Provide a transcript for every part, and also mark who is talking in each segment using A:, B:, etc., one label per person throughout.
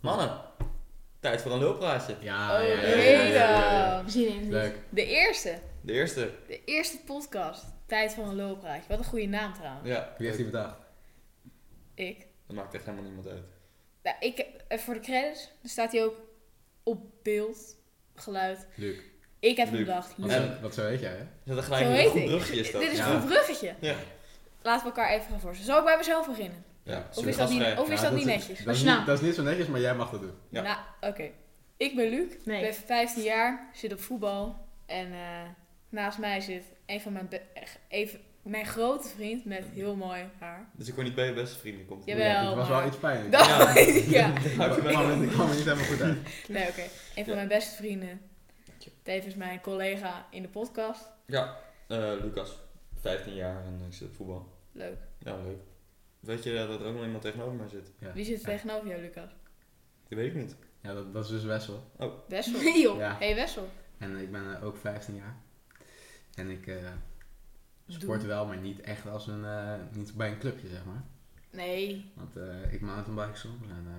A: Mannen, tijd voor een lulpraatje.
B: Ja, ja,
C: Oh,
B: ja, ja,
C: jee
B: ja, ja, ja.
C: dan. We zien het niet.
B: Leuk.
C: De eerste.
A: De eerste.
C: De eerste podcast. Tijd van een looppraatje. Wat een goede naam trouwens.
A: Ja,
B: Wie heeft die bedacht?
C: Ik.
A: dat maakt echt helemaal niemand uit.
C: Nou, ik heb, eh, voor de credits dan staat hij ook op beeld, geluid.
B: Luc.
C: Ik heb hem
A: Luc.
C: bedacht.
B: Wat,
C: Luc.
A: Ja.
B: zo, wat zo heet jij, hè?
A: Is dat er
C: Zo
A: gelijk
C: heet
A: een goed
C: ik.
A: brugje is dat?
C: Dit is
B: Ja.
C: een goed bruggetje.
A: Ja.
C: Laten we elkaar even gaan voorstellen. Zal ik bij mezelf beginnen?
A: Ja,
C: Of is dat niet,
A: gastvrij.
C: of is
B: Ja,
C: dat niet
B: Dat
C: netjes?
B: is,
C: Als je
B: niet,
C: naam-
B: dat is niet zo netjes, maar jij mag dat doen.
A: Ja.
C: Nou, oké. Ik ben Luc, ik
D: Nee.
C: ben 15 jaar, zit op voetbal. En eh, naast mij zit een van mijn, be- echt even, mijn grote vriend met heel mooi haar.
A: Dus ik hoor niet bij je beste vrienden. Komt goed.
C: Jawel,
B: Ja, dit was wel
C: maar-
B: iets pijnlijk.
C: Dat
A: Ja.
C: weet ik, ja.
A: Houd je
B: Ik
A: bij
B: kwam er-
A: me.
B: ik kwam er niet helemaal goed uit.
C: Nee, oké. Een van
A: Ja.
C: mijn beste vrienden.
A: Dank je.
C: Tevens mijn collega in de podcast.
A: Ja, eh, Lucas, 15 jaar en ik zit op voetbal.
C: Leuk.
A: Ja, leuk. Weet je dat er ook nog iemand tegenover mij zit?
B: Ja.
C: Wie zit er
B: Ja.
C: tegenover jou, Lucas?
A: Dat weet ik niet.
B: Ja, dat, dat is dus Wessel.
C: Wessel.
D: Nee joh.
B: Ja.
C: hey, Wessel.
B: En ik ben eh, ook 15 jaar. En ik eh, sport
C: Doe.
B: wel, maar niet echt als een, eh, niet bij een clubje, zeg maar.
C: Nee.
B: Want eh, ik mountainbike soms en eh,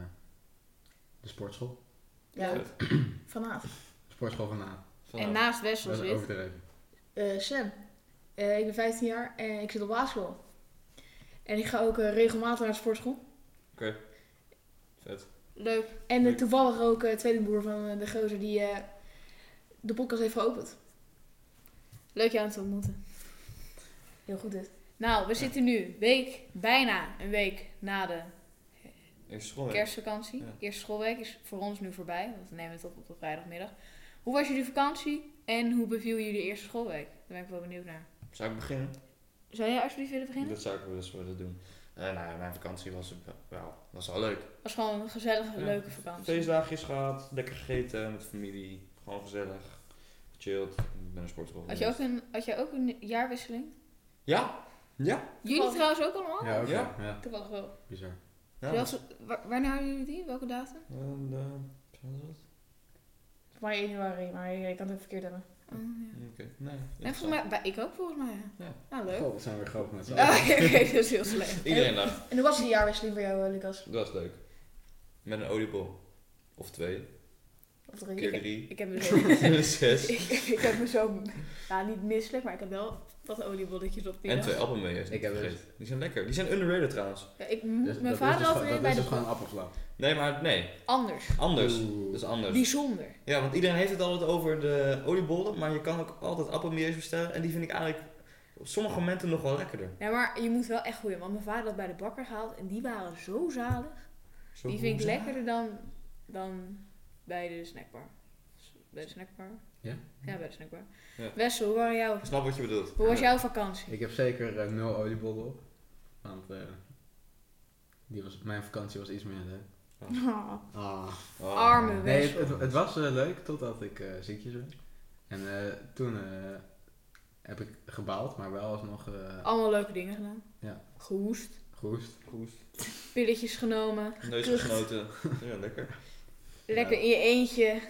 B: de sportschool.
D: Ja.
A: Leuk.
D: Vanavond.
B: De sportschool vandaan.
C: En
A: Vanavond.
C: naast Wessel
B: Dat is
C: zit...
B: overdreven.
D: Eh, Sam. Eh, ik ben 15 jaar en ik zit op basisschool. En ik ga ook eh, regelmatig naar de sportschool.
A: Vet.
C: Leuk.
D: En eh,
A: Leuk.
D: toevallig ook eh tweede broer van eh, de gozer die eh, de podcast heeft geopend.
C: Leuk jou aan te ontmoeten.
D: Heel goed dit.
C: Nou, we zitten nu week, bijna een week na de
A: Eerste schoolweek.
C: kerstvakantie.
A: Oh Ja.
C: Eerste schoolweek is voor ons nu voorbij, want we nemen het op op de vrijdagmiddag. Hoe was jullie vakantie en hoe beviel jullie eerste schoolweek? Daar ben ik wel benieuwd naar.
A: Zou ik beginnen?
C: Zou jij alsjeblieft willen beginnen?
A: Dat zou ik wel eens willen doen. Eh, nou ja, mijn vakantie was wel, was wel leuk.
C: was gewoon een gezellige,
A: Ja.
C: leuke vakantie.
A: Feestdagjes gehad, lekker gegeten met familie. Gewoon gezellig, gechilled. Ik ben een sportschool
C: Had je ook
A: geweest.
C: een, had jij ook een jaarwisseling?
A: Ja, ja.
C: Jullie
D: Oh.
C: trouwens ook allemaal?
B: Ja, ook
A: Ja?
B: ja. ja.
C: Toevallig wel.
B: Bizar.
A: ja.
C: Welke- wa- wanneer houden jullie die? Welke datum?
A: En, eh, wat was het?
D: Maar 1 januari, maar ik kan het verkeerd hebben.
C: Oh, ja.
A: Oké, nee.
C: En volgens mij, bij, ik ook volgens mij. ja.
A: Ja.
C: Nou, leuk.
B: Goh, we zijn weer groot met z'n allen.
C: Ah, Oké, oké, dat is heel slecht.
A: Iedereen dacht,
D: En hoe was de jaarwisseling voor jou, eh, Lucas?
A: dat was leuk. Met een oliebol. Of twee,
D: Of drie?
A: keer drie,
C: Ik heb me zo,
A: zes.
C: ik, ik heb me zo, nou niet misselijk, maar ik heb wel wat oliebolletjes op die
A: En
C: dag.
A: twee appelmeeërs.
B: Ik heb dus-
A: het. Die zijn lekker. Die zijn underrated trouwens.
C: Ja, ik moet
B: Dus
C: mijn
B: dat is
C: vader
B: dus gewoon-
C: altijd weer
B: Dat
C: bij
B: is
C: de
B: dus gewoon Dus- appelflap.
A: Nee, maar nee.
C: Anders,
A: Anders.
B: Oeh.
A: Dat is anders.
C: bijzonder.
A: Ja, want iedereen heeft het altijd over de oliebollen, maar je kan ook altijd appelmeers bestellen. En die vind ik eigenlijk op sommige momenten nog wel lekkerder.
C: Ja, Nou, maar je moet wel echt goeien, want mijn vader had bij de bakker gehaald en die waren zo zalig.
A: Zo
C: die vind ik
A: woensdag.
C: lekkerder dan, dan bij de snackbar. S- Bij de snackbar?
B: Ja?
C: Ja, bij de snackbar.
A: Ja.
C: Wessel, hoe, waren jouw,
A: Ik snap wat je bedoelt.
C: hoe was
B: Ja.
C: jouw vakantie?
B: Ik heb zeker eh, nul oliebollen op. Want eh, die was, mijn vakantie was iets minder leuk.
D: Ah.
B: Ah.
A: Oh.
C: Arme
B: Nee,
C: Wessel.
B: het, het, het was eh, leuk totdat ik eh, ziekjes werd. En eh, toen eh, heb ik gebaald, maar wel alsnog eh
C: Allemaal leuke dingen gedaan.
B: Ja.
C: Gehoest,
B: gehoest.
A: Goed.
C: pilletjes genomen,
A: Neus gesnoten. Ja, lekker.
C: lekker in je eentje.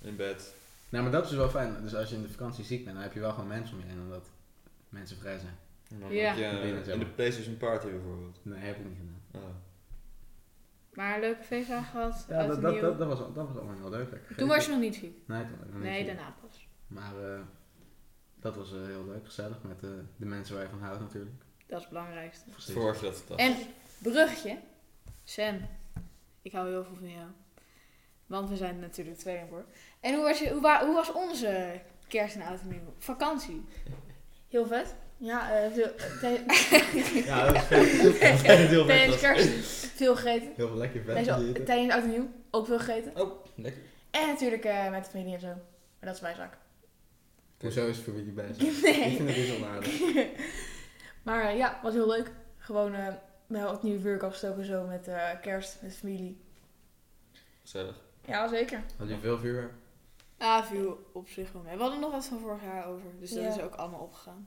A: In bed.
B: Nou, maar dat is wel fijn. Dus als je in de vakantie ziek bent, dan heb je wel gewoon mensen om je heen. Omdat mensen vrij zijn.
A: En dan
C: Ja.
A: heb je eh,
B: Binnen, zeg
A: in de
B: maar.
A: PlayStation Party bijvoorbeeld.
B: Nee, heb ik niet gedaan.
A: Oh.
C: Maar een leuke feestdagen gehad,
B: Ja,
C: oud
B: dat,
C: en
B: dat,
C: nieuw.
B: dat, dat was, dat was allemaal heel leuk. Lekker
C: Toen was je nog niet ziek.
B: gegeten. Nee, toen was ik nog niet
C: Nee,
B: ziek.
C: daarna pas.
B: Maar eh, dat was eh, heel leuk, gezellig. Met eh, de mensen waar je van houdt natuurlijk.
C: Dat is het belangrijkste.
B: Precies.
A: Vorig dat dat.
C: En brugje. Sam, ik hou heel veel van jou. Want we zijn natuurlijk tweeling hoor. En hoe was, je, hoe, wa- hoe was onze kerst en oud en nieuw? Vakantie.
D: Heel vet. Ja, eh, veel, tij-
A: Ja, dat is vet. heel
D: tijdens
A: vet. was.
D: kerst veel gegeten.
B: Heel veel lekker vet
D: Tijdens,
B: eten.
D: tijdens oud en nieuw ook veel gegeten.
A: Oh, lekker.
D: En natuurlijk eh, met de vrienden en zo. Maar dat is mijn zaak.
B: Hoezo is familie best? Ik
D: Nee.
B: vind het dus onaardig.
D: maar eh, ja, was heel leuk. Gewoon eh met wat nieuw vuurwerk afgestoken zo met eh, kerst, met familie.
A: Gezellig.
D: Ja, zeker.
B: Had je veel vuurwerk?
C: Ah, viel op zich wel mee. We hadden nog wat van vorig jaar over. Dus dat
D: Ja.
C: is ook allemaal opgegaan.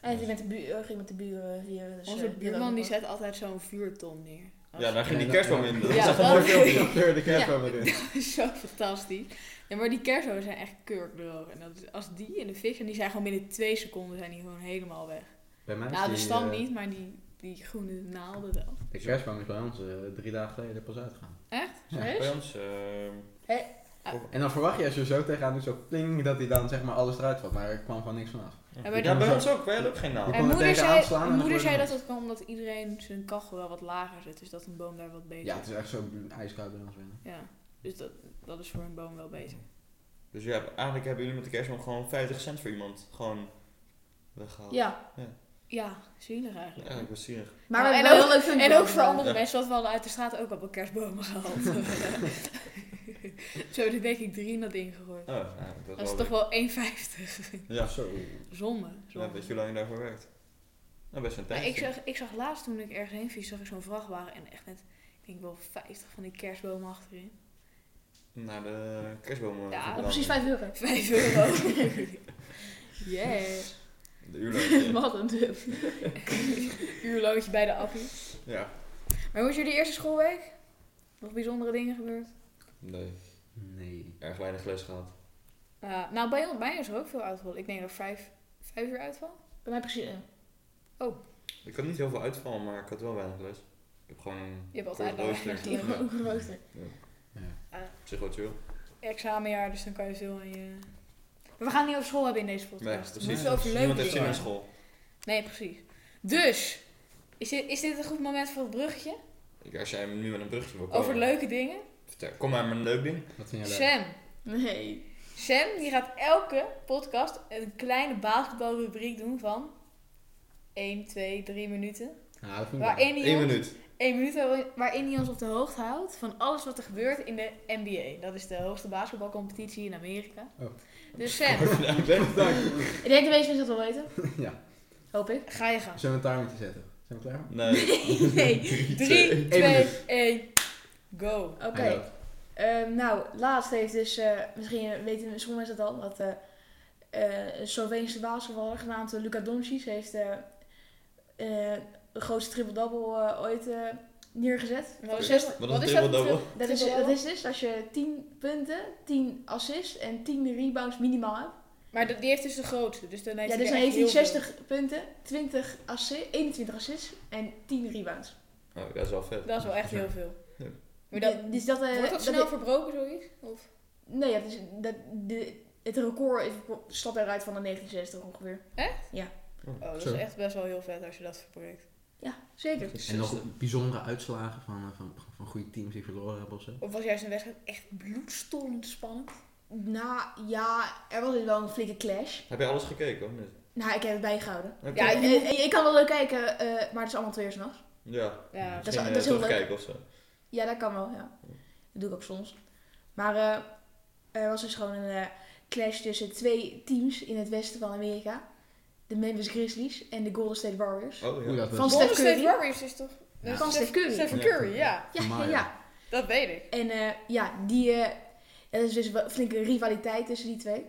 D: En ik ging met de, bu- eh, ging met de buren vieren. Dus,
C: Onze
D: eh,
C: buurman die
D: dat ook
C: zet altijd zo'n vuurton neer. Dat
A: Ja,
C: is-
A: daar ging die
B: Ja,
A: kerstboom
B: ja.
A: in. Dat
C: Ja,
A: is echt een
C: dat-
A: mooi filmpje.
B: Kleur de kerstboom erin.
C: dat is zo fantastisch. Ja, maar die kerstbomen zijn echt kurkdroog. En dat is, als die en de vis, en die zijn gewoon binnen twee seconden zijn die gewoon helemaal weg.
B: Bij mij is
C: Nou, de
B: die,
C: stam
B: eh,
C: niet, maar die, die groene naalden wel.
B: De kerstboom is bij ons eh, drie dagen geleden pas uitgegaan.
C: Echt?
B: Ja.
A: Bij ons... ehm,
B: En dan verwacht je als je zo tegenaan doet, zo pling, dat hij dan zeg maar alles eruit valt. Maar er kwam gewoon niks vanaf.
A: ja,
C: maar
A: bij
B: dat-
A: ons ook. Wij hadden ook geen naald.
B: kon
C: En
B: er
C: moeder
B: tegenaan
C: zei,
B: slaan en
C: mijn
B: dan wordt
C: moeder zei
B: het
C: dat dat kwam omdat iedereen zijn kachel wel wat lager zet. Dus dat een boom daar wat beter
B: Ja, het is echt zo ijskoud bij ons binnen.
C: Ja, dus dat, dat is voor een boom wel beter.
A: Dus ja, eigenlijk hebben jullie met de kerstman gewoon 50 cent voor iemand gewoon weggehaald.
D: Ja,
C: Ja, zielig
A: Ja,
C: eigenlijk.
A: Eigenlijk was zielig.
D: maar
C: Nou,
D: we
C: en
D: hebben wel
C: ook-
D: heel leuk filmpje
C: En ook
D: over.
C: voor andere
A: Ja.
C: mensen, want we hadden uit de straat ook allemaal kerstbomen gehaald. Zo, er denk ik drie in dat ding gegooid.
A: Oh, ja, dat
C: Dat is
A: was
C: toch
A: wel...
C: wel 1,50.
A: Ja,
B: Zo.
C: Zonde. zonde.
A: ja, weet je hoe lang je daarvoor werkt? Nou, best een
C: Maar
A: tijdje.
C: ik zag, ik zag laatst toen ik ergens heen fiets, zag ik zo'n vrachtwagen en echt net, ik denk wel 50 van die kerstbomen achterin.
A: Naar de kerstboom.
C: Ja,
D: Op precies 5 euro.
C: 5 euro. yeah.
A: De uurloon.
D: Wat een dub.
C: Uurloodje bij de appie.
A: ja.
C: Maar hoe is jullie eerste schoolweek? Nog bijzondere dingen gebeurd?
A: Nee,
B: Nee.
A: erg weinig les gehad.
C: Ah, nou, bij ons, bij ons is er ook veel uitval. Ik denk dat vijf, vijf uur uitval.
D: Bij mij precies één.
A: Ik had niet heel veel uitval, maar ik had wel weinig les. Ik heb gewoon een
C: Je hebt
A: kort
C: altijd weinig
A: rooster.
D: Ik heb
A: Ja,
D: ook een rooster.
B: Ja.
A: op zich wel chill.
C: Examenjaar, dus dan kan je veel aan je... Maar we gaan het niet over school hebben in deze
A: Nee,
C: podcast.
A: precies.
C: We moeten over leuke
A: Niemand heeft zin
C: dingen
A: in
C: hebben.
A: school.
C: Nee, precies. Dus, is dit, is dit een goed moment voor het bruggetje?
A: Ik- Als jij nu met een brugje wil komen.
C: Over leuke dingen?
A: Vertel, kom maar met een leuk ding.
B: Wat vind jij leuk?
C: Sam.
D: Nee.
C: Sam, die gaat elke podcast een kleine basketbalrubriek doen van 1, 2, 3 minuten.
B: Nou, dat vind ik leuk.
C: Waarin hij
A: Eén
C: ons,
A: minuut.
C: één minuut waarin hij ons op de hoogte houdt van alles wat er gebeurt in de NBA. Dat is de hoogste basketbalcompetitie in Amerika.
B: Oh.
C: Dus Sam,
A: Ja, ik weet het.
D: Ik denk de meeste mensen dat wel weten.
B: Ja.
D: Hoop ik.
C: ga je gang.
B: Zullen we een timertje zetten? Zijn we klaar?
A: Nee.
C: Nee,
A: twee,
B: één
C: 3, 2, 1, go.
D: Oké.
B: Hij loopt.
D: Ehm, nou, laatst heeft dus, eh, misschien weten sommige mensen dat al, dat eh, eh, een Sloveense basketballer genaamd Luka Doncic heeft eh, eh, de grootste triple-double eh, ooit eh, neergezet.
C: Wat is,
D: Zes-
C: dat-
A: Wat
C: wat
A: een
C: is dat
A: triple
C: voor-
A: double.
D: Dat is, dat
C: Triple-double?
D: is dus als je 10 punten, 10 assists en 10 rebounds minimaal hebt.
C: Maar dat- die heeft dus de grootste. Dus dan heeft
D: Ja,
C: hij
D: dus
C: er
D: dan
C: echt
D: heeft hij
C: heel veel.
D: 60 punten, 20 assi 21 assists en 10 rebounds.
A: Oh, dat is wel vet.
C: Dat is wel echt heel veel.
A: Ja.
C: Maar dat,
D: dus dat, eh,
C: wordt dat
D: dat-
C: snel verbroken, zoiets? Of?
D: Nee, ja, dus dat, de, het record is- stapt eruit van de 1960 ongeveer.
C: Oh, dat
B: Zo.
C: is echt best wel heel vet als je dat verbreekt.
D: Ja, zeker.
B: En nog bijzondere uitslagen van, eh, van, van goede teams die verloren hebben of zo.
C: Of was juist een wedstrijd echt bloedstollend spannend?
D: Nou ja, er was dus wel een flinke clash.
A: Heb jij alles gekeken of niet?
D: Nou, ik heb het bijgehouden.
A: Oké.
C: Ja,
D: Ja,
C: je
D: ik, ik, ik kan wel leuk kijken, eh, maar het is allemaal twee uur 's nachts.
A: Ja.
C: Ja,
D: Dat is-
A: Misschien,
D: dat
A: eh,
D: is heel leuk.
A: terugkijken of zo.
D: Ja, dat kan wel, ja. Dat doe ik ook soms. Maar eh, er was dus gewoon een eh, clash tussen twee teams in het westen van Amerika. De Memphis Grizzlies en de Golden State Warriors.
A: Oh ja.
B: Hoe dat
D: Van
B: was.
D: Steph
C: Golden State
D: Curry.
C: Warriors is toch...
B: Ja.
C: is
D: Van Steph Curry.
C: Stephen
B: Ja.
C: Curry, ja.
D: Ja, ja,
B: Maar,
D: ja.
C: Dat weet ik.
D: En eh, ja, die, eh, er is dus wel een flinke rivaliteit tussen die twee.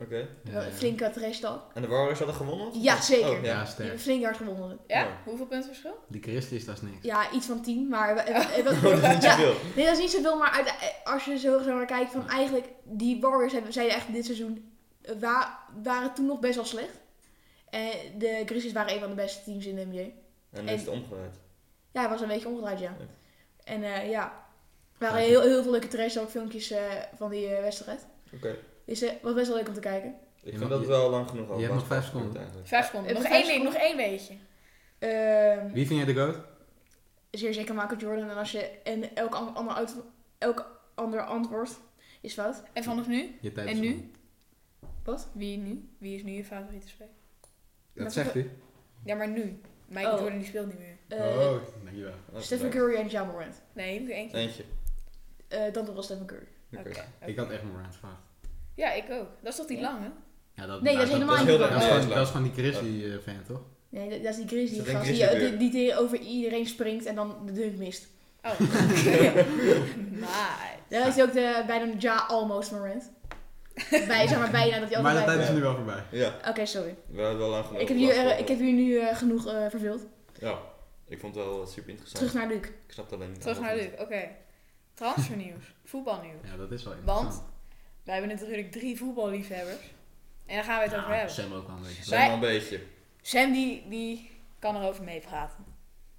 A: Oké.
D: Wel een flinke trash talk.
A: En de Warriors hadden gewonnen? of-
D: Ja, zeker.
A: Eh, Oh,
B: Ja,
A: ja.
D: Die hebben
B: sterk.
D: flink hard gewonnen.
C: Ja?
A: Ja.
C: Hoeveel punten verschil?
B: Die Christus, dat is niks.
D: Ja, iets van tien, maar... eh, eh, eh, wat-
A: Oh, dat is niet
D: ja,
A: zoveel.
D: nee, dat is niet zoveel, maar uit- eh, als je zo zo naar kijkt van eigenlijk... Die Warriors hebben, zijn echt dit seizoen... eh, wa- waren toen nog best wel slecht. En de Grizzlies waren een van de beste teams in de NBA.
A: En nu is het omgedraaid.
D: Ja, het was een beetje ongedraaid, ja.
A: Ja.
D: En eh, ja, er waren heel, heel veel leuke trash talk filmpjes eh, van die eh, wedstrijd.
A: Oké.
D: Dus het was best wel leuk om te kijken.
A: Ik
B: Ja,
A: vind
B: maar
A: dat
B: je-
A: wel lang genoeg al.
B: je hebt nog vijf
A: basketbal
B: seconden.
A: eigenlijk.
C: Vijf seconden.
D: Eh,
C: Nog
D: vijf
C: één, ding, nog
D: seconden.
C: één weetje.
D: Ehm,
B: Wie vind jij de goat?
D: zeer zeker Michael Jordan. En, als je, en elk, an- ander, uit, elk ander antwoord is fout.
C: En vanaf nu?
B: Je tijd
C: En
B: is
C: nu?
B: om.
D: Wat?
C: Wie nu? Wie is nu je favoriete speler?
B: Dat zegt hij.
C: Ja, maar nu. Michael
D: Oh.
C: Jordan die speelt niet meer.
A: Oh,
D: Eh
B: Oh, dankjewel.
A: Dat is
D: Stephen
A: leuk.
D: Curry en Ja Morant.
C: Nee, ik eentje.
A: Eentje.
D: Eh dan toch wel Stephen Curry.
A: Oké.
C: Oké.
D: eh,
B: Ik had echt Morant gevraagd.
C: Ja, ik ook. Dat is toch niet
D: Ja.
C: lang, hè?
B: Ja, dat,
D: Nee,
B: maar
D: dat is helemaal
A: dat
D: niet
A: is heel
B: Dat
D: waar.
B: is,
A: Nee, dat
B: gewoon, dat
A: is
B: is gewoon die Christie-fan, toch?
D: Nee, dat, dat is die
A: Dat
D: Grizzly
A: is een
D: gast die,
A: grizzly
D: die, die, die over iedereen springt en dan de dunk mist.
C: Oh. maar.
D: Daar is hij ook de, bijna Ja Almost Morant. Bij, zeg maar bijna dat hij
B: Maar de
D: altijd bij...
B: tijd is
A: Ja.
B: nu wel voorbij.
A: Ja,
D: Oké, sorry.
A: we hebben wel lang genoeg
D: Ik heb, jullie, eh,
A: basketbal.
D: ik heb jullie nu eh, genoeg eh, verveeld.
A: Ja, ik vond het wel eh, super interessant.
D: Terug naar Luc.
A: Ik snap het alleen niet.
C: Terug naar
A: alles
C: Luc. Oké. Transfernieuws. Voetbalnieuws.
B: Ja, dat is wel
C: Want
B: interessant.
C: wij hebben natuurlijk drie voetballiefhebbers. En daar gaan we het over
B: Ja,
C: hebben.
B: Sam ook wel een beetje.
A: niet. Zeg maar een beetje.
C: Sam die, die kan erover meepraten.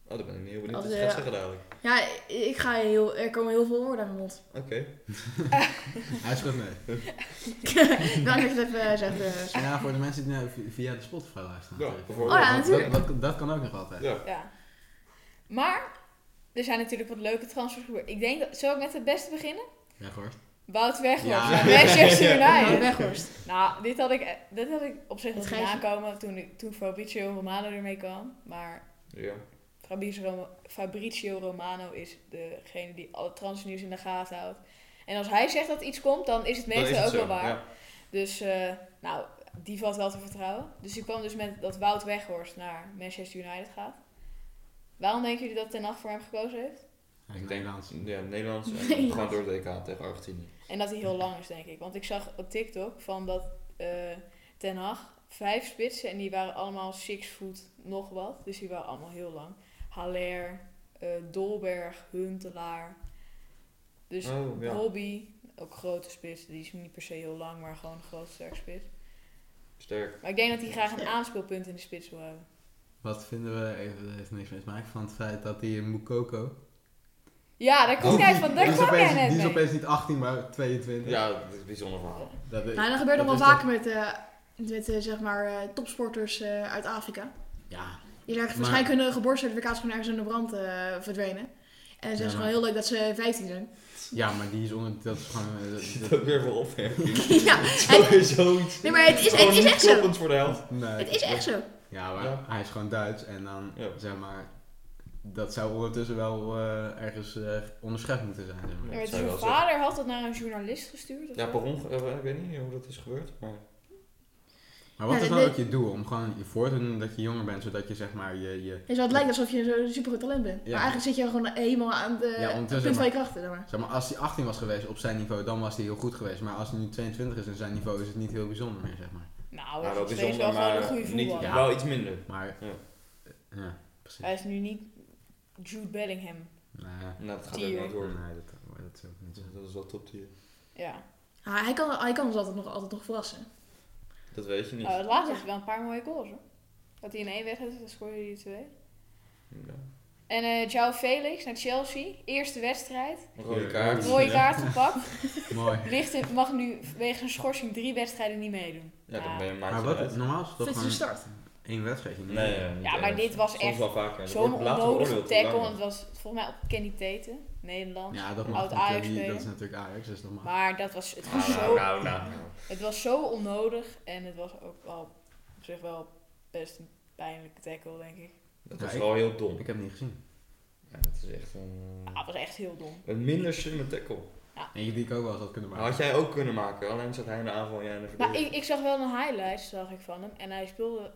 A: Oh, daar ben ik niet heel benieuwd
D: Als,
A: wat je gaat
D: eh,
A: zeggen dadelijk.
D: Ja, ik ga heel, er komen heel veel woorden uit mijn mond.
A: Oké.
B: Hij schudt mee.
D: Dank dat je het even eh, zegt. eh,
B: En ja, voor de mensen die nou vi- via de Spotify
A: Ja,
B: luisteren. natuurlijk.
A: bijvoorbeeld.
D: Oh ja,
B: Want
D: natuurlijk.
B: Dat, dat, dat kan ook nog altijd.
A: Ja.
C: Ja. Maar er zijn natuurlijk wat leuke transfers gebeurd. Ik denk dat... Zal ik met het beste beginnen?
B: Ja, hoor.
C: Wout Weghorst.
B: Ja.
C: naar Manchester
D: Ja,
C: United.
D: Weghorst.
C: Nou, dit had ik, eh, dit had ik op zich
D: Dit
C: nog
D: ga je-
C: gedaan aankomen toen, ik- toen Fabrizio Romano ermee kwam. Maar
A: Ja.
C: Fabrizio, Rom- Fabrizio Romano is degene die alle transnieuws in de gaten houdt. En als hij zegt dat iets komt, dan is het
A: Dan is
C: meestal
A: het
C: ook
A: zo,
C: wel waar.
A: Ja.
C: Dus, eh, nou, die valt wel te vertrouwen. Dus die kwam dus met dat Wout Weghorst naar Manchester United gaat. Waarom denken jullie dat Ten Hag voor hem gekozen heeft?
A: Ik denk
B: Nederlands.
A: Ja, Nederlands. En
D: Nederlands.
A: Gewoon door het EK tegen Argentinië.
C: En dat hij heel lang is, denk ik. Want ik zag op TikTok van dat eh, Ten Hag vijf spitsen en die waren allemaal six foot nog wat. Dus die waren allemaal heel lang. Haller, eh, Dolberg, Huntelaar. Dus
A: Oh, ja.
C: Robbie, ook grote spits. Die is niet per se heel lang, maar gewoon een grote sterk spits.
A: Sterk.
C: Maar ik denk dat hij graag een aanspeelpunt in de spits wil hebben.
B: Wat vinden we, even, dat heeft niks mee te maken, van het feit dat die Mukoko...
C: Ja, daar komt
A: Oh,
C: jij van. Daar
B: die is
C: kwam jij
B: opeens,
C: net
B: Die is
C: mee.
B: opeens niet 18, maar 22.
A: Ja, dat is een bijzonder verhaal.
B: Dat is-
D: Nou, dat gebeurt nog wel
B: is
D: vaker met, eh, met eh, zeg maar, eh, topsporters eh, uit Afrika.
B: toch- Ja,
D: Die leggen
B: Maar-
D: waarschijnlijk hun eh, geboortecertificaat gewoon ergens in de brand eh, verdwenen. En dan zeggen ze
B: Ja,
D: gewoon
B: maar-
D: heel leuk dat ze 15 zijn.
B: ja, maar die is onder... Dat is gewoon... eh, dat-
A: Je ziet ook weer voor opmerking.
D: ja, en-
A: Sowieso iets.
D: nee, maar het is, het is echt zo.
A: voor de helft.
B: nee.
D: Het is echt zo.
B: Ja, maar
A: Ja.
B: hij is gewoon Duits en dan,
A: Ja.
B: zeg maar... Dat zou ondertussen wel eh, ergens eh onderscheid moeten zijn, zeg maar.
C: Ja, maar
A: zou je
C: zijn
A: wel zeggen.
C: vader had dat naar een journalist gestuurd. Of
A: Ja,
C: zo?
A: per ongeluk. eh, Ik weet niet hoe dat is gebeurd. Maar
B: Maar wat
D: Ja,
B: is
D: dat
B: nou
D: dit-
B: ook je doel? Om gewoon je voor te doen dat je jonger bent, zodat je zeg maar je... je
D: Dus het lijkt alsof je zo'n supergoed talent bent.
B: Ja.
D: Maar eigenlijk zit je gewoon helemaal aan de,
B: Ja,
D: het
B: ondertussen
D: punt van
B: maar.
D: je krachten. zeg maar.
B: zeg maar, als hij 18 was geweest op zijn niveau, dan was hij heel goed geweest. Maar als hij nu 22 is in zijn niveau, is het niet heel bijzonder meer, zeg maar.
C: Nou,
A: Ja,
C: hij is
A: wel
C: nog steeds
A: bijzonder,
C: wel gewoon een
A: maar
C: goede
A: niet,
C: voetballer.
B: Ja.
A: wel iets minder.
B: Maar,
A: Ja.
B: eh, ja, precies.
C: Hij is nu niet Jude Bellingham.
B: Nee,
A: Nou, dat gaat ook
C: Tier.
A: nooit worden.
B: nee dat, oh, dat is ook niet zo.
A: Dat is wel top tier.
C: Ja.
D: Ah, hij, kan, hij kan ons altijd nog, altijd nog verrassen.
A: Dat weet je niet.
C: Nou, het laatste had wel een paar mooie goals hoor. Dat hij in één wedstrijd dan scoorde hij er twee.
A: Ja.
C: En eh João Felix naar Chelsea. Eerste wedstrijd.
A: Rode kaart.
C: Mooie
B: Ja.
C: kaart gepakt.
B: Mooi.
C: Ligt in- mag nu wegens een schorsing drie wedstrijden niet meedoen. Ah,
A: Ja, dan ben je een
B: Maar
A: maandje
B: wat,
A: eruit.
B: normaal is het
D: Dit
B: toch
D: is de
B: gewoon
D: start.
B: één wedstrijdje? niet?
A: Nee, ja, niet
C: Ja, maar
A: erg.
C: dit was
A: Soms
C: echt
A: wel vaker. En dat
C: Zo'n
A: wordt later
C: onnodige
A: beoordeeld hoe lang
C: tackle.
A: het-
C: Want het was volgens mij op Kenny Tete. Nederlands.
B: Ja, dat,
C: Oud
B: mag
C: Ajax
B: natuurlijk niet. dat is
C: spelen.
B: natuurlijk Ajax, dus dat mag.
C: Maar dat was, het, was
A: Nou,
C: zo,
A: nou, nou, nou, nou.
C: het was zo onnodig. En het was ook wel op zich wel best een pijnlijke tackle, denk ik.
A: Dat
B: Ja,
A: was
B: ik-
A: wel heel dom.
B: Ik heb het niet gezien.
A: Ja, dat is echt een...
C: Ah, het was echt heel dom.
A: Een minder slimme tackle.
B: Eentje die ik ook wel eens had kunnen maken.
A: Had jij ook kunnen maken. Alleen zat hij in de aanval en jij in de
C: Maar
A: verdediging.
C: Nou, ik, ik zag wel een highlights zag ik van hem. En hij speelde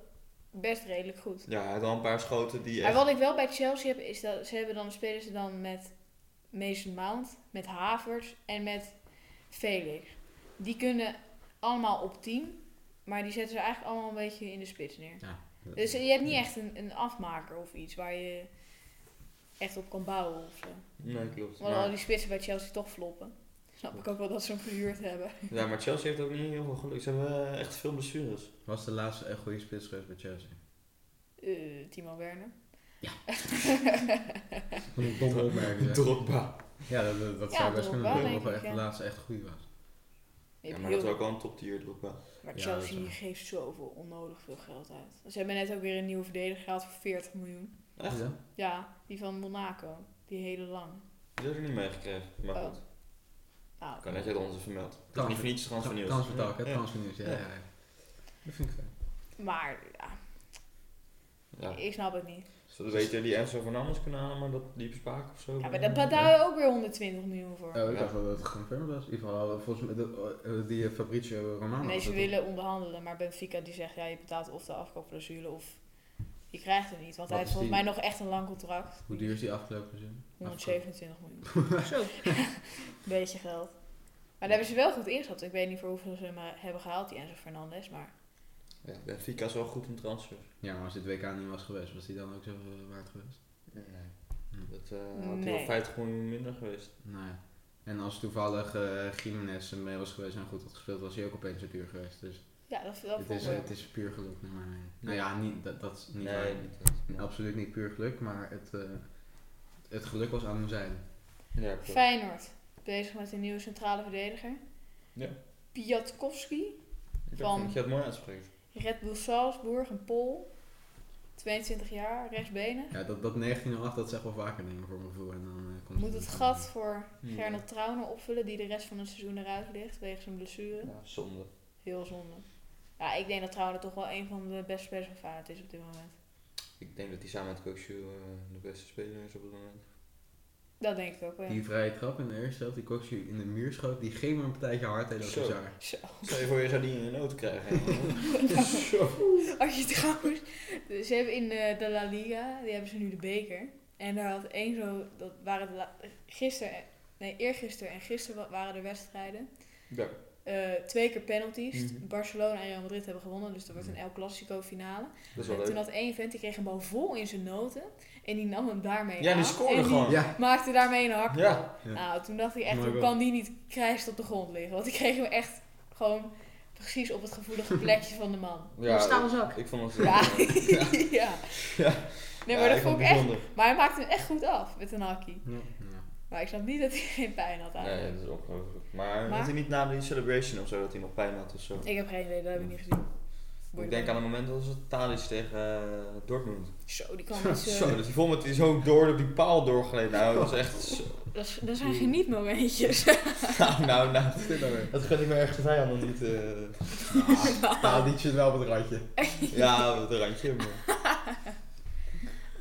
C: best redelijk goed.
A: Ja, hij had al een paar schoten die
C: Maar
A: echt...
C: wat ik wel bij Chelsea heb, is dat ze hebben dan spelen ze dan met Mason Mount, met Havers en met Felix. Die kunnen allemaal op 10, maar die zetten ze eigenlijk allemaal een beetje in de spits neer.
B: Ja.
C: Dus je hebt niet echt een, een afmaker of iets waar je echt op kan bouwen of zo.
A: Nee, klopt.
C: Want al
A: Maar,
C: die spitsen bij Chelsea toch floppen. Snap ik ook wel dat ze hem verhuurd hebben.
A: ja, maar Chelsea heeft ook niet heel veel geluk. Ze hebben eh, echt veel blessures.
B: Was de laatste echt goede spits geweest bij Chelsea?
C: Eh, Timo Werner.
B: Wat een domme opmerking. zeg.
A: Drogba.
B: Ja, dat, dat, dat
C: Ja,
B: zou best
C: Drogba,
B: kunnen. Dat
C: denk
B: Drogba
C: ik,
B: echt de
C: ja.
B: laatste echt goed was.
A: Ja,
C: Je hebt
A: maar
C: heel
A: dat is ook wel een top tier Drogba.
C: Maar
B: Ja,
C: Chelsea
B: dat is waar.
C: geeft zoveel onnodig veel geld uit. Ze hebben net ook weer een nieuwe verdediger gehaald voor 40 miljoen.
A: Echt?
B: Ja.
C: Ja, die van Monaco. Die hele lang.
A: Die heb ik niet meegekregen. Maar
C: Oh.
A: goed.
C: Nou,
A: Kan net jij dat ons even meldt. Het is
B: Transfer-
A: niet voor niets transfer nieuws.
B: Transfertalk, hè?
A: Ja.
B: Transfernieuws, ja.
A: Ja.
B: ja, ja. Dat vind ik fijn.
C: Maar ja,
A: Ja.
C: ik snap het niet.
A: Ze hadden beter die Enzo Fernandes kunnen halen, maar dat die bespaak of zo.
C: Ja, maar daar betaal je ook weer 120 miljoen voor.
B: Oh, ik
A: Ja.
B: dacht wel dat het geconfirmed was. In ieder geval, eh, volgens mij, de- eh, die eh, Fabrizio Romano.
C: nee,
B: had
C: ze
B: het
C: willen onderhandelen. Maar Benfica die zegt, ja, je betaalt of de afkoopclausule of je krijgt het niet. Want hij
B: Wat
C: heeft
B: is die?
C: volgens mij nog echt een lang contract.
B: op. Hoe duur is die afgelopen zin?
C: 127 miljoen.
D: Zo.
C: Beetje geld. Maar daar hebben ze wel goed ingeschat. Ik weet niet voor hoeveel ze hem eh, hebben gehaald, die Enzo Fernandes. Maar
A: Ja, Benfica is wel goed in transfer.
B: Ja, maar als dit WK niet was geweest, was die dan ook zo eh, waard geweest?
A: Nee. Dat eh, had hij
C: Nee.
A: wel 50 miljoen minder geweest.
B: Nou ja. En als toevallig eh Jiménez mee was geweest en goed had gespeeld, was hij ook opeens zo duur geweest. Dus
C: Ja, dat, dat
B: Het
C: vond
B: is,
C: ik wel.
B: het is puur geluk naar mij. Nou ja, niet, dat, dat is niet waar.
A: Nee, niet echt. Nee.
B: Absoluut niet puur geluk, maar het, eh, het geluk was aan mijn zijde.
A: Ja, klopt.
C: Feyenoord, bezig met een nieuwe centrale verdediger.
A: Ja.
C: Piatkowski,
A: Ik
C: van-
A: vind dat je het mooi uitspreekt.
C: Red Bull Salzburg, een Pool. 22 jaar, rechtsbenen.
B: Ja, dat, dat 1908, dat zeg wel vaker dingen voor mijn gevoel. En dan, eh, komt
C: Moet het gat voor
A: Ja.
C: Hm. Gernot Trauner opvullen, die de rest van het seizoen eruit ligt wegens zijn blessure.
A: Ja, zonde.
C: Heel zonde. Ja, ik denk dat Trauner toch wel een van de beste spelers van Feyenoord is op dit moment.
A: Ik denk dat hij samen met Kokshu de beste speler is op het moment.
C: Dat denk ik ook wel. ja.
B: Die vrije trap in de eerste helft, die Koksje in de muur schoot, die geeft me een partijtje hard en dat
A: Zo.
B: is bizar.
C: Zo.
A: Stel je voor, je zou die in een nood krijgen. hè? Zo.
C: Als je trouwens. Ze hebben in eh, de La Liga, die hebben ze nu de beker. En daar had één zo. Dat waren de la- gisteren. Nee, eergisteren en gisteren wa- waren er wedstrijden.
A: Ja.
C: Eh, twee keer penalties.
A: Mhm.
C: Barcelona en Real Madrid hebben gewonnen, dus er wordt een El Clasico finale.
A: Dat is
C: En
A: wel
C: toen
A: leuk.
C: had één vent, die kreeg een bal vol in zijn noten. En die nam hem daarmee
A: Ja,
C: aan.
A: die scoorde
C: en die
A: gewoon.
B: Ja,
C: maakte daarmee een hakbal.
A: Ja.
B: Ja.
C: Nou, toen dacht ik echt,
B: Mooi
C: hoe
B: wel.
C: kan die niet krijst op de grond liggen? Want ik kreeg hem echt gewoon precies op het gevoelige plekje van de man.
D: Ja, stalen zak.
A: Ik vond het
C: Ja.
A: Ja.
C: ja. Nee, maar
A: Ja,
C: dat
A: het
C: vond ik echt...
A: bijzonder.
C: Maar hij maakte hem echt goed af met een hakkie.
B: Ja. Ja.
C: Maar ik snap niet dat hij geen pijn had eigenlijk.
A: Nee, dat is ongelooflijk. Maar,
C: Maar-
A: dat hij niet na die celebration of zo, dat hij nog pijn had of zo.
C: Ik heb geen idee, dat heb ik niet gezien.
A: Ik denk aan het moment dat het Thalys tegen eh, Dortmund.
C: Zo, die kwam niet eh,
A: Zo,
C: zo...
A: dat hij vol met die zo door op die paal doorgleden. Nou, dat is echt zo.
C: Dat is- dat zijn genietmomentjes.
A: Nou, nou, nou.
B: Wat is dit nou weer?
A: Dat gun ik mijn ergste vijanden niet. eh,
B: Nou, die zit wel op het randje.
A: ja, het randje. Maar.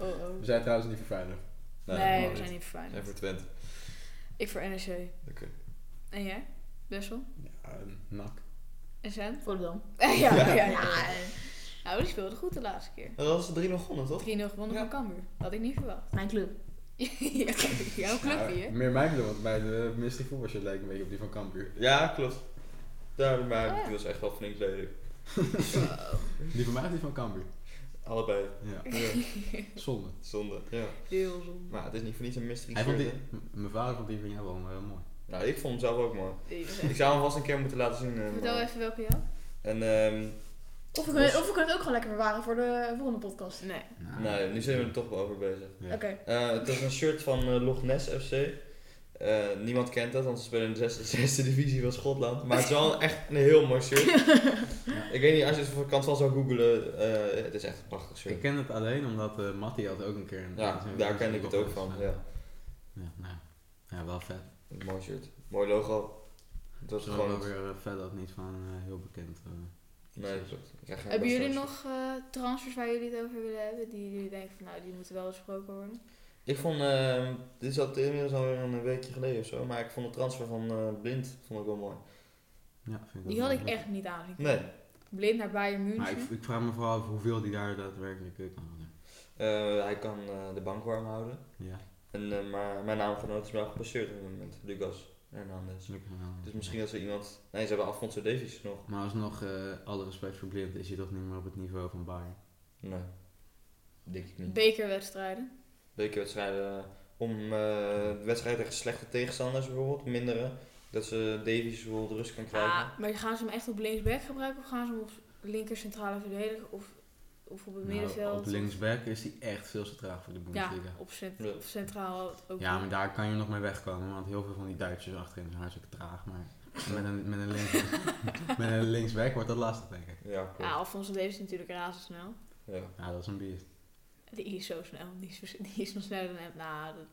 C: Oh, oh.
B: We zijn trouwens niet vervuiler.
C: Nee,
A: helemaal
C: we
A: niet.
C: zijn niet voor
A: En
C: Feyenoord.
A: voor Twente.
C: Ik voor NEC.
A: Oké.
C: En jij? Bessel?
B: Ja, een nak.
C: En Sen?
D: Volendam.
C: ja, ja, ja.
D: Ja, eh,
C: Nou, die speelde goed de laatste keer. 3-0
A: Dat was de 3 nog gewonnen, toch?
C: gewonnen
A: Ja.
C: van Cambuur. Had ik niet verwacht.
D: mijn club.
C: Ja, Jouw clubje,
B: Ja,
C: hè?
B: meer mijn bedoel, want bij de Mystery Voetbalshow lijkt een beetje op die van Kampuur.
A: Ja, klopt. Daar, maar
C: Oh, ja.
A: die was echt wel flink lelijk.
C: Wow.
B: Die van mij of die van Kampuur?
A: Allebei.
B: Ja,
A: Ja,
B: zonde.
A: zonde. Ja.
C: Heel zonde.
A: Maar het is niet voor niets een mystery
B: Hij vond die,
A: shirt, hè?
B: m- mijn vader vond die van jou wel eh, mooi.
A: Nou, ik vond hem zelf ook mooi.
C: Nee, dat is
A: Ik
C: echt-
A: zou hem vast een keer moeten laten zien. eh,
C: Vertel
A: maar-
C: even welke jou?
A: En ehm
D: Of we,
B: Dus-
D: kunnen, of we kunnen het ook gewoon lekker bewaren voor de volgende podcast.
C: Nee.
A: nee, nou nu zijn we er toch wel over bezig.
B: Ja.
D: Oké.
A: Eh, het is een shirt van eh, Loch Ness FC. Eh, niemand kent dat, want ze spelen in de zesde, zesde divisie van Schotland. Maar het is wel echt een heel mooi shirt. Ik weet niet, als je het voor kant van zou googlen, eh, het is echt een prachtig
B: Ik
A: shirt.
B: ken het alleen omdat eh Matty had ook een keer een...
A: Ja,
B: een-
A: daar
B: een-
A: ken
B: een-
A: ik het ook van. Ja.
B: Ja, nou ja. Ja, wel vet.
A: Een mooi shirt. Mooi logo. Dat
B: Dat
A: is
B: is wel
A: gewoon...
B: weer eh, vet dat niet van eh, heel bekend. eh,
A: Nee, dat
B: is.
A: klopt. Ik krijg geen
C: Hebben
A: best
C: jullie
A: wel
C: nog eh, transfers waar jullie het over willen hebben? Die jullie denken van, nou, die moeten wel besproken worden.
A: Ik vond, ehm, dit is al inmiddels alweer een weekje geleden of zo, maar ik vond de transfer van eh, Blind vond ik wel mooi.
B: Ja, vind
C: Die
B: wel
C: had ik
B: leuk.
C: echt niet aan zien
A: Nee,
C: komen. Blind naar Bayern
B: Maar ik,
C: München.
B: ik vraag me vooral af hoeveel die daar daadwerkelijk eh, kan doen.
A: eh, hij kan eh, de bank warm houden.
B: Ja,
A: En, eh, maar mijn naamgenoot is wel gepasseerd op dit moment, Lucas Hernandez.
B: dat kan wel.
A: Dus misschien dat ze iemand... Nee, ze hebben Alfonso Davies nog.
B: Maar alsnog, eh alle respect voor Blind, is hij toch niet meer op het niveau van Bayern.
A: Nee, denk ik niet.
C: Bekerwedstrijden.
A: Bekerwedstrijden eh, om eh, wedstrijden tegen slechte tegenstanders bijvoorbeeld, mindere. Dat ze Davies bijvoorbeeld rust kan krijgen.
C: Ah, maar gaan ze hem echt op linksback gebruiken of gaan ze hem op linker centrale verdediger of, of op het
B: Nou,
C: middenveld?
B: op linksback is hij echt veel te traag voor de
C: Ja,
B: Bundesliga.
C: op, cent-
A: Ja.
C: op centraal ook.
B: Ja, maar daar kan je nog mee wegkomen, want heel veel van die Duitsers achterin zijn hartstikke traag. Maar met een, met een, links, met een linksback wordt dat lastig, denk ik.
A: Ja, klopt.
C: Ja, Alfonso Davies is natuurlijk razendsnel.
A: Ja.
B: Ja, dat is een beest.
C: Die is zo snel. Die is, die is nog sneller dan, nou, dat-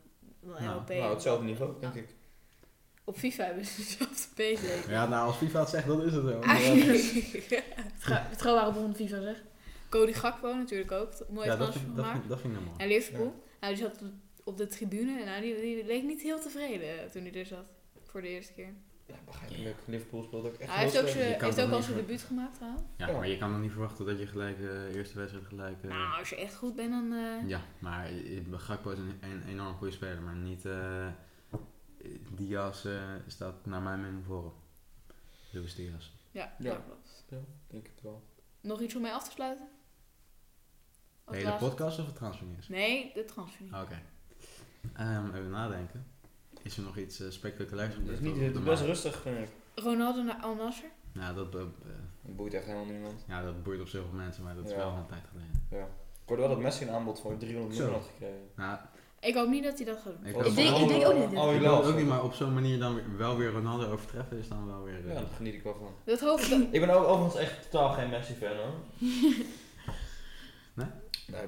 C: dan
B: Nou,
C: LP.
A: Nou, hetzelfde niveau, denk
C: Ja.
A: ik.
C: Op FIFA hebben ze hetzelfde pace.
B: Ja, nou, als FIFA het zegt, dan is het zo.
D: Vertrouw- Vertrouwbare bron van FIFA zeg.
C: Cody Gakpo natuurlijk ook. t- Mooie
B: Ja, dat,
C: transfer
B: vind- dat,
C: gemaakt.
B: vind- dat vind ik nou mooi.
C: En Liverpool. Hij zat op de, op de tribune en hij die, die leek niet heel tevreden eh, toen hij er zat. Voor de eerste keer.
A: Ja, begrijpelijk. Liverpool speelt ook echt
C: hij heeft ook,
A: slecht.
C: zijn-
B: Je kan
C: heeft
B: toch
C: ook al
B: niet
C: zijn
B: ver-
C: debuut gemaakt trouwens.
B: Ja, maar je kan dan niet verwachten dat je gelijk eh eerste wedstrijd gelijk... eh,
C: Nou, als je echt goed bent dan... eh,
B: Ja, maar eh, Gakpo is een, een enorm goede speler, maar niet... eh, Diaz eh, staat naar mijn mening voorop. Luis Diaz.
C: ja,
A: Ja.
C: dat klopt.
A: Ja, denk het wel.
C: Nog iets om mee af te sluiten?
B: De
C: Als
B: hele
C: laatste-
B: podcast Oh. of het transfernieuws?
C: Nee, de transfer niet.
B: Oké. Ehm, even nadenken. Is er nog iets eh, spectaculairs
A: Het
B: gebeurd?
A: is niet,
B: over
A: het
B: de
A: is best
B: markt?
A: rustig, vind ik.
C: Ronaldo naar Al Nasser.
B: Nou, dat, be- eh,
A: Dat boeit echt helemaal niemand.
B: ja, dat boeit op zoveel mensen, maar dat is
A: Ja.
B: wel een tijd geleden.
A: Ik hoorde wel dat Messi een aanbod voor 300 miljoen
B: Zo.
A: had gekregen.
B: Nou,
C: Ik hoop niet dat hij dat gaat doen.
B: ik
A: Was dat
B: hoop-
D: denk-
A: van
D: ik denk ook
A: Ronaldo?
D: niet.
A: Oh,
B: ik
A: jawel,
B: wil ook
A: zo.
B: niet, maar op zo'n manier dan weer- wel weer Ronaldo overtreffen is dan wel weer... eh,
A: Ja, daar geniet ik wel van.
C: Dat hoop ik. dat-
A: Ik ben ook overigens echt totaal geen Messi-fan hoor.
B: Nee?
A: Nee.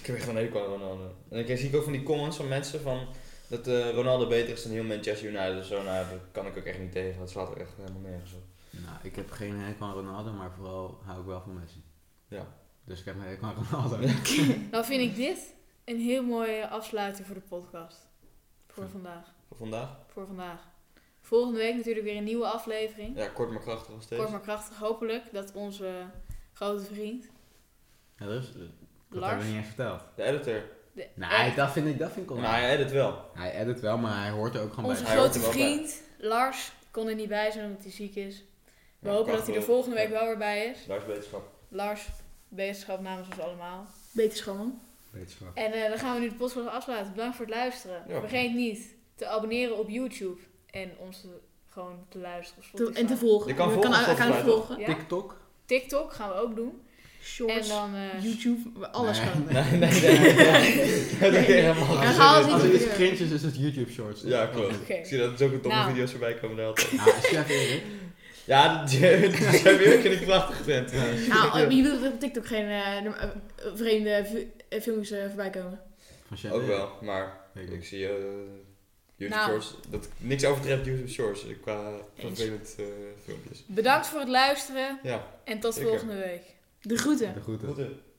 A: Ik heb echt een hekel aan Ronaldo. En ik zie ik ook van die comments van mensen van dat eh, Ronaldo beter is dan heel Manchester United of zo. Nou, daar kan ik ook echt niet tegen. Dat slaat ook echt helemaal nergens op.
B: Nou, ik heb geen hekel aan Ronaldo, maar vooral hou ik wel van Messi.
A: Ja.
B: Dus ik heb een hekel aan Ronaldo.
C: Dan Nou vind ik dit een heel mooie afsluiting voor de podcast. Voor vandaag.
A: Voor vandaag?
C: Voor vandaag. Volgende week natuurlijk weer een nieuwe aflevering.
A: Ja, kort maar krachtig nog steeds.
C: Kort maar krachtig. Hopelijk dat onze grote vriend
B: Ja, dat is, dat hebben
C: Lars,
B: we niet eens verteld.
A: De editor.
C: de eh,
B: Nee, dat vind ik, dat vind ik
A: Maar hij edit wel.
B: Hij edit wel, maar hij hoort er ook gewoon
C: Onze
B: bij.
A: Hij hoort
C: grote
A: er wel bij.
C: vriend Lars kon er niet bij zijn omdat hij ziek is. We
A: Ja,
C: hopen dat
A: prachtig.
C: hij er volgende week wel weer bij is.
A: Lars Wetenschap.
C: Lars, wetenschap namens ons allemaal.
D: Beter schoon.
B: Wetenschap.
C: En eh, dan gaan we nu de podcast afsluiten. Bedankt voor het luisteren.
A: Ja.
C: Vergeet niet te abonneren op YouTube en ons te- gewoon te luisteren op Spotify.
D: En te volgen.
A: Je kan
D: Je
A: volgen,
D: kan,
A: volgens
D: kan
A: mij,
D: volgen.
C: Ja?
B: TikTok?
C: TikTok gaan we ook doen.
D: Shorts,
C: en dan eh,
D: YouTube, alles
B: Nee.
D: kan.
A: Nee, nee, nee. nee, Dat is helemaal
D: Ja,
B: Als
D: haal
B: er-
D: het niet
B: als er
D: door
B: iets
D: de deur.
B: cringe is, is het YouTube Shorts.
A: Ja, klopt.
C: Oké.
A: Ik zie dat er zo ook domme
C: Nou.
A: video's voorbij komen daar altijd.
B: Nou, chef Erik.
A: Ja, die die zijn weer geen krachtige vent.
D: Nou, je wilt op TikTok geen eh, eh, vreemde vi- eh, filmpjes eh, voorbij komen.
B: Van chef
A: Ook
B: Erik.
A: wel, maar
B: Weet ik
A: Ik
B: niet.
A: zie eh, YouTube
C: Nou.
A: Shorts, dat niks overtreft YouTube Shorts eh, qua
D: Eens.
A: vervelend eh, filmpjes.
C: bedankt voor het luisteren
A: Ja,
C: en tot
A: Zeker.
C: volgende week.
D: De groeten.
B: De groeten.
A: moeten.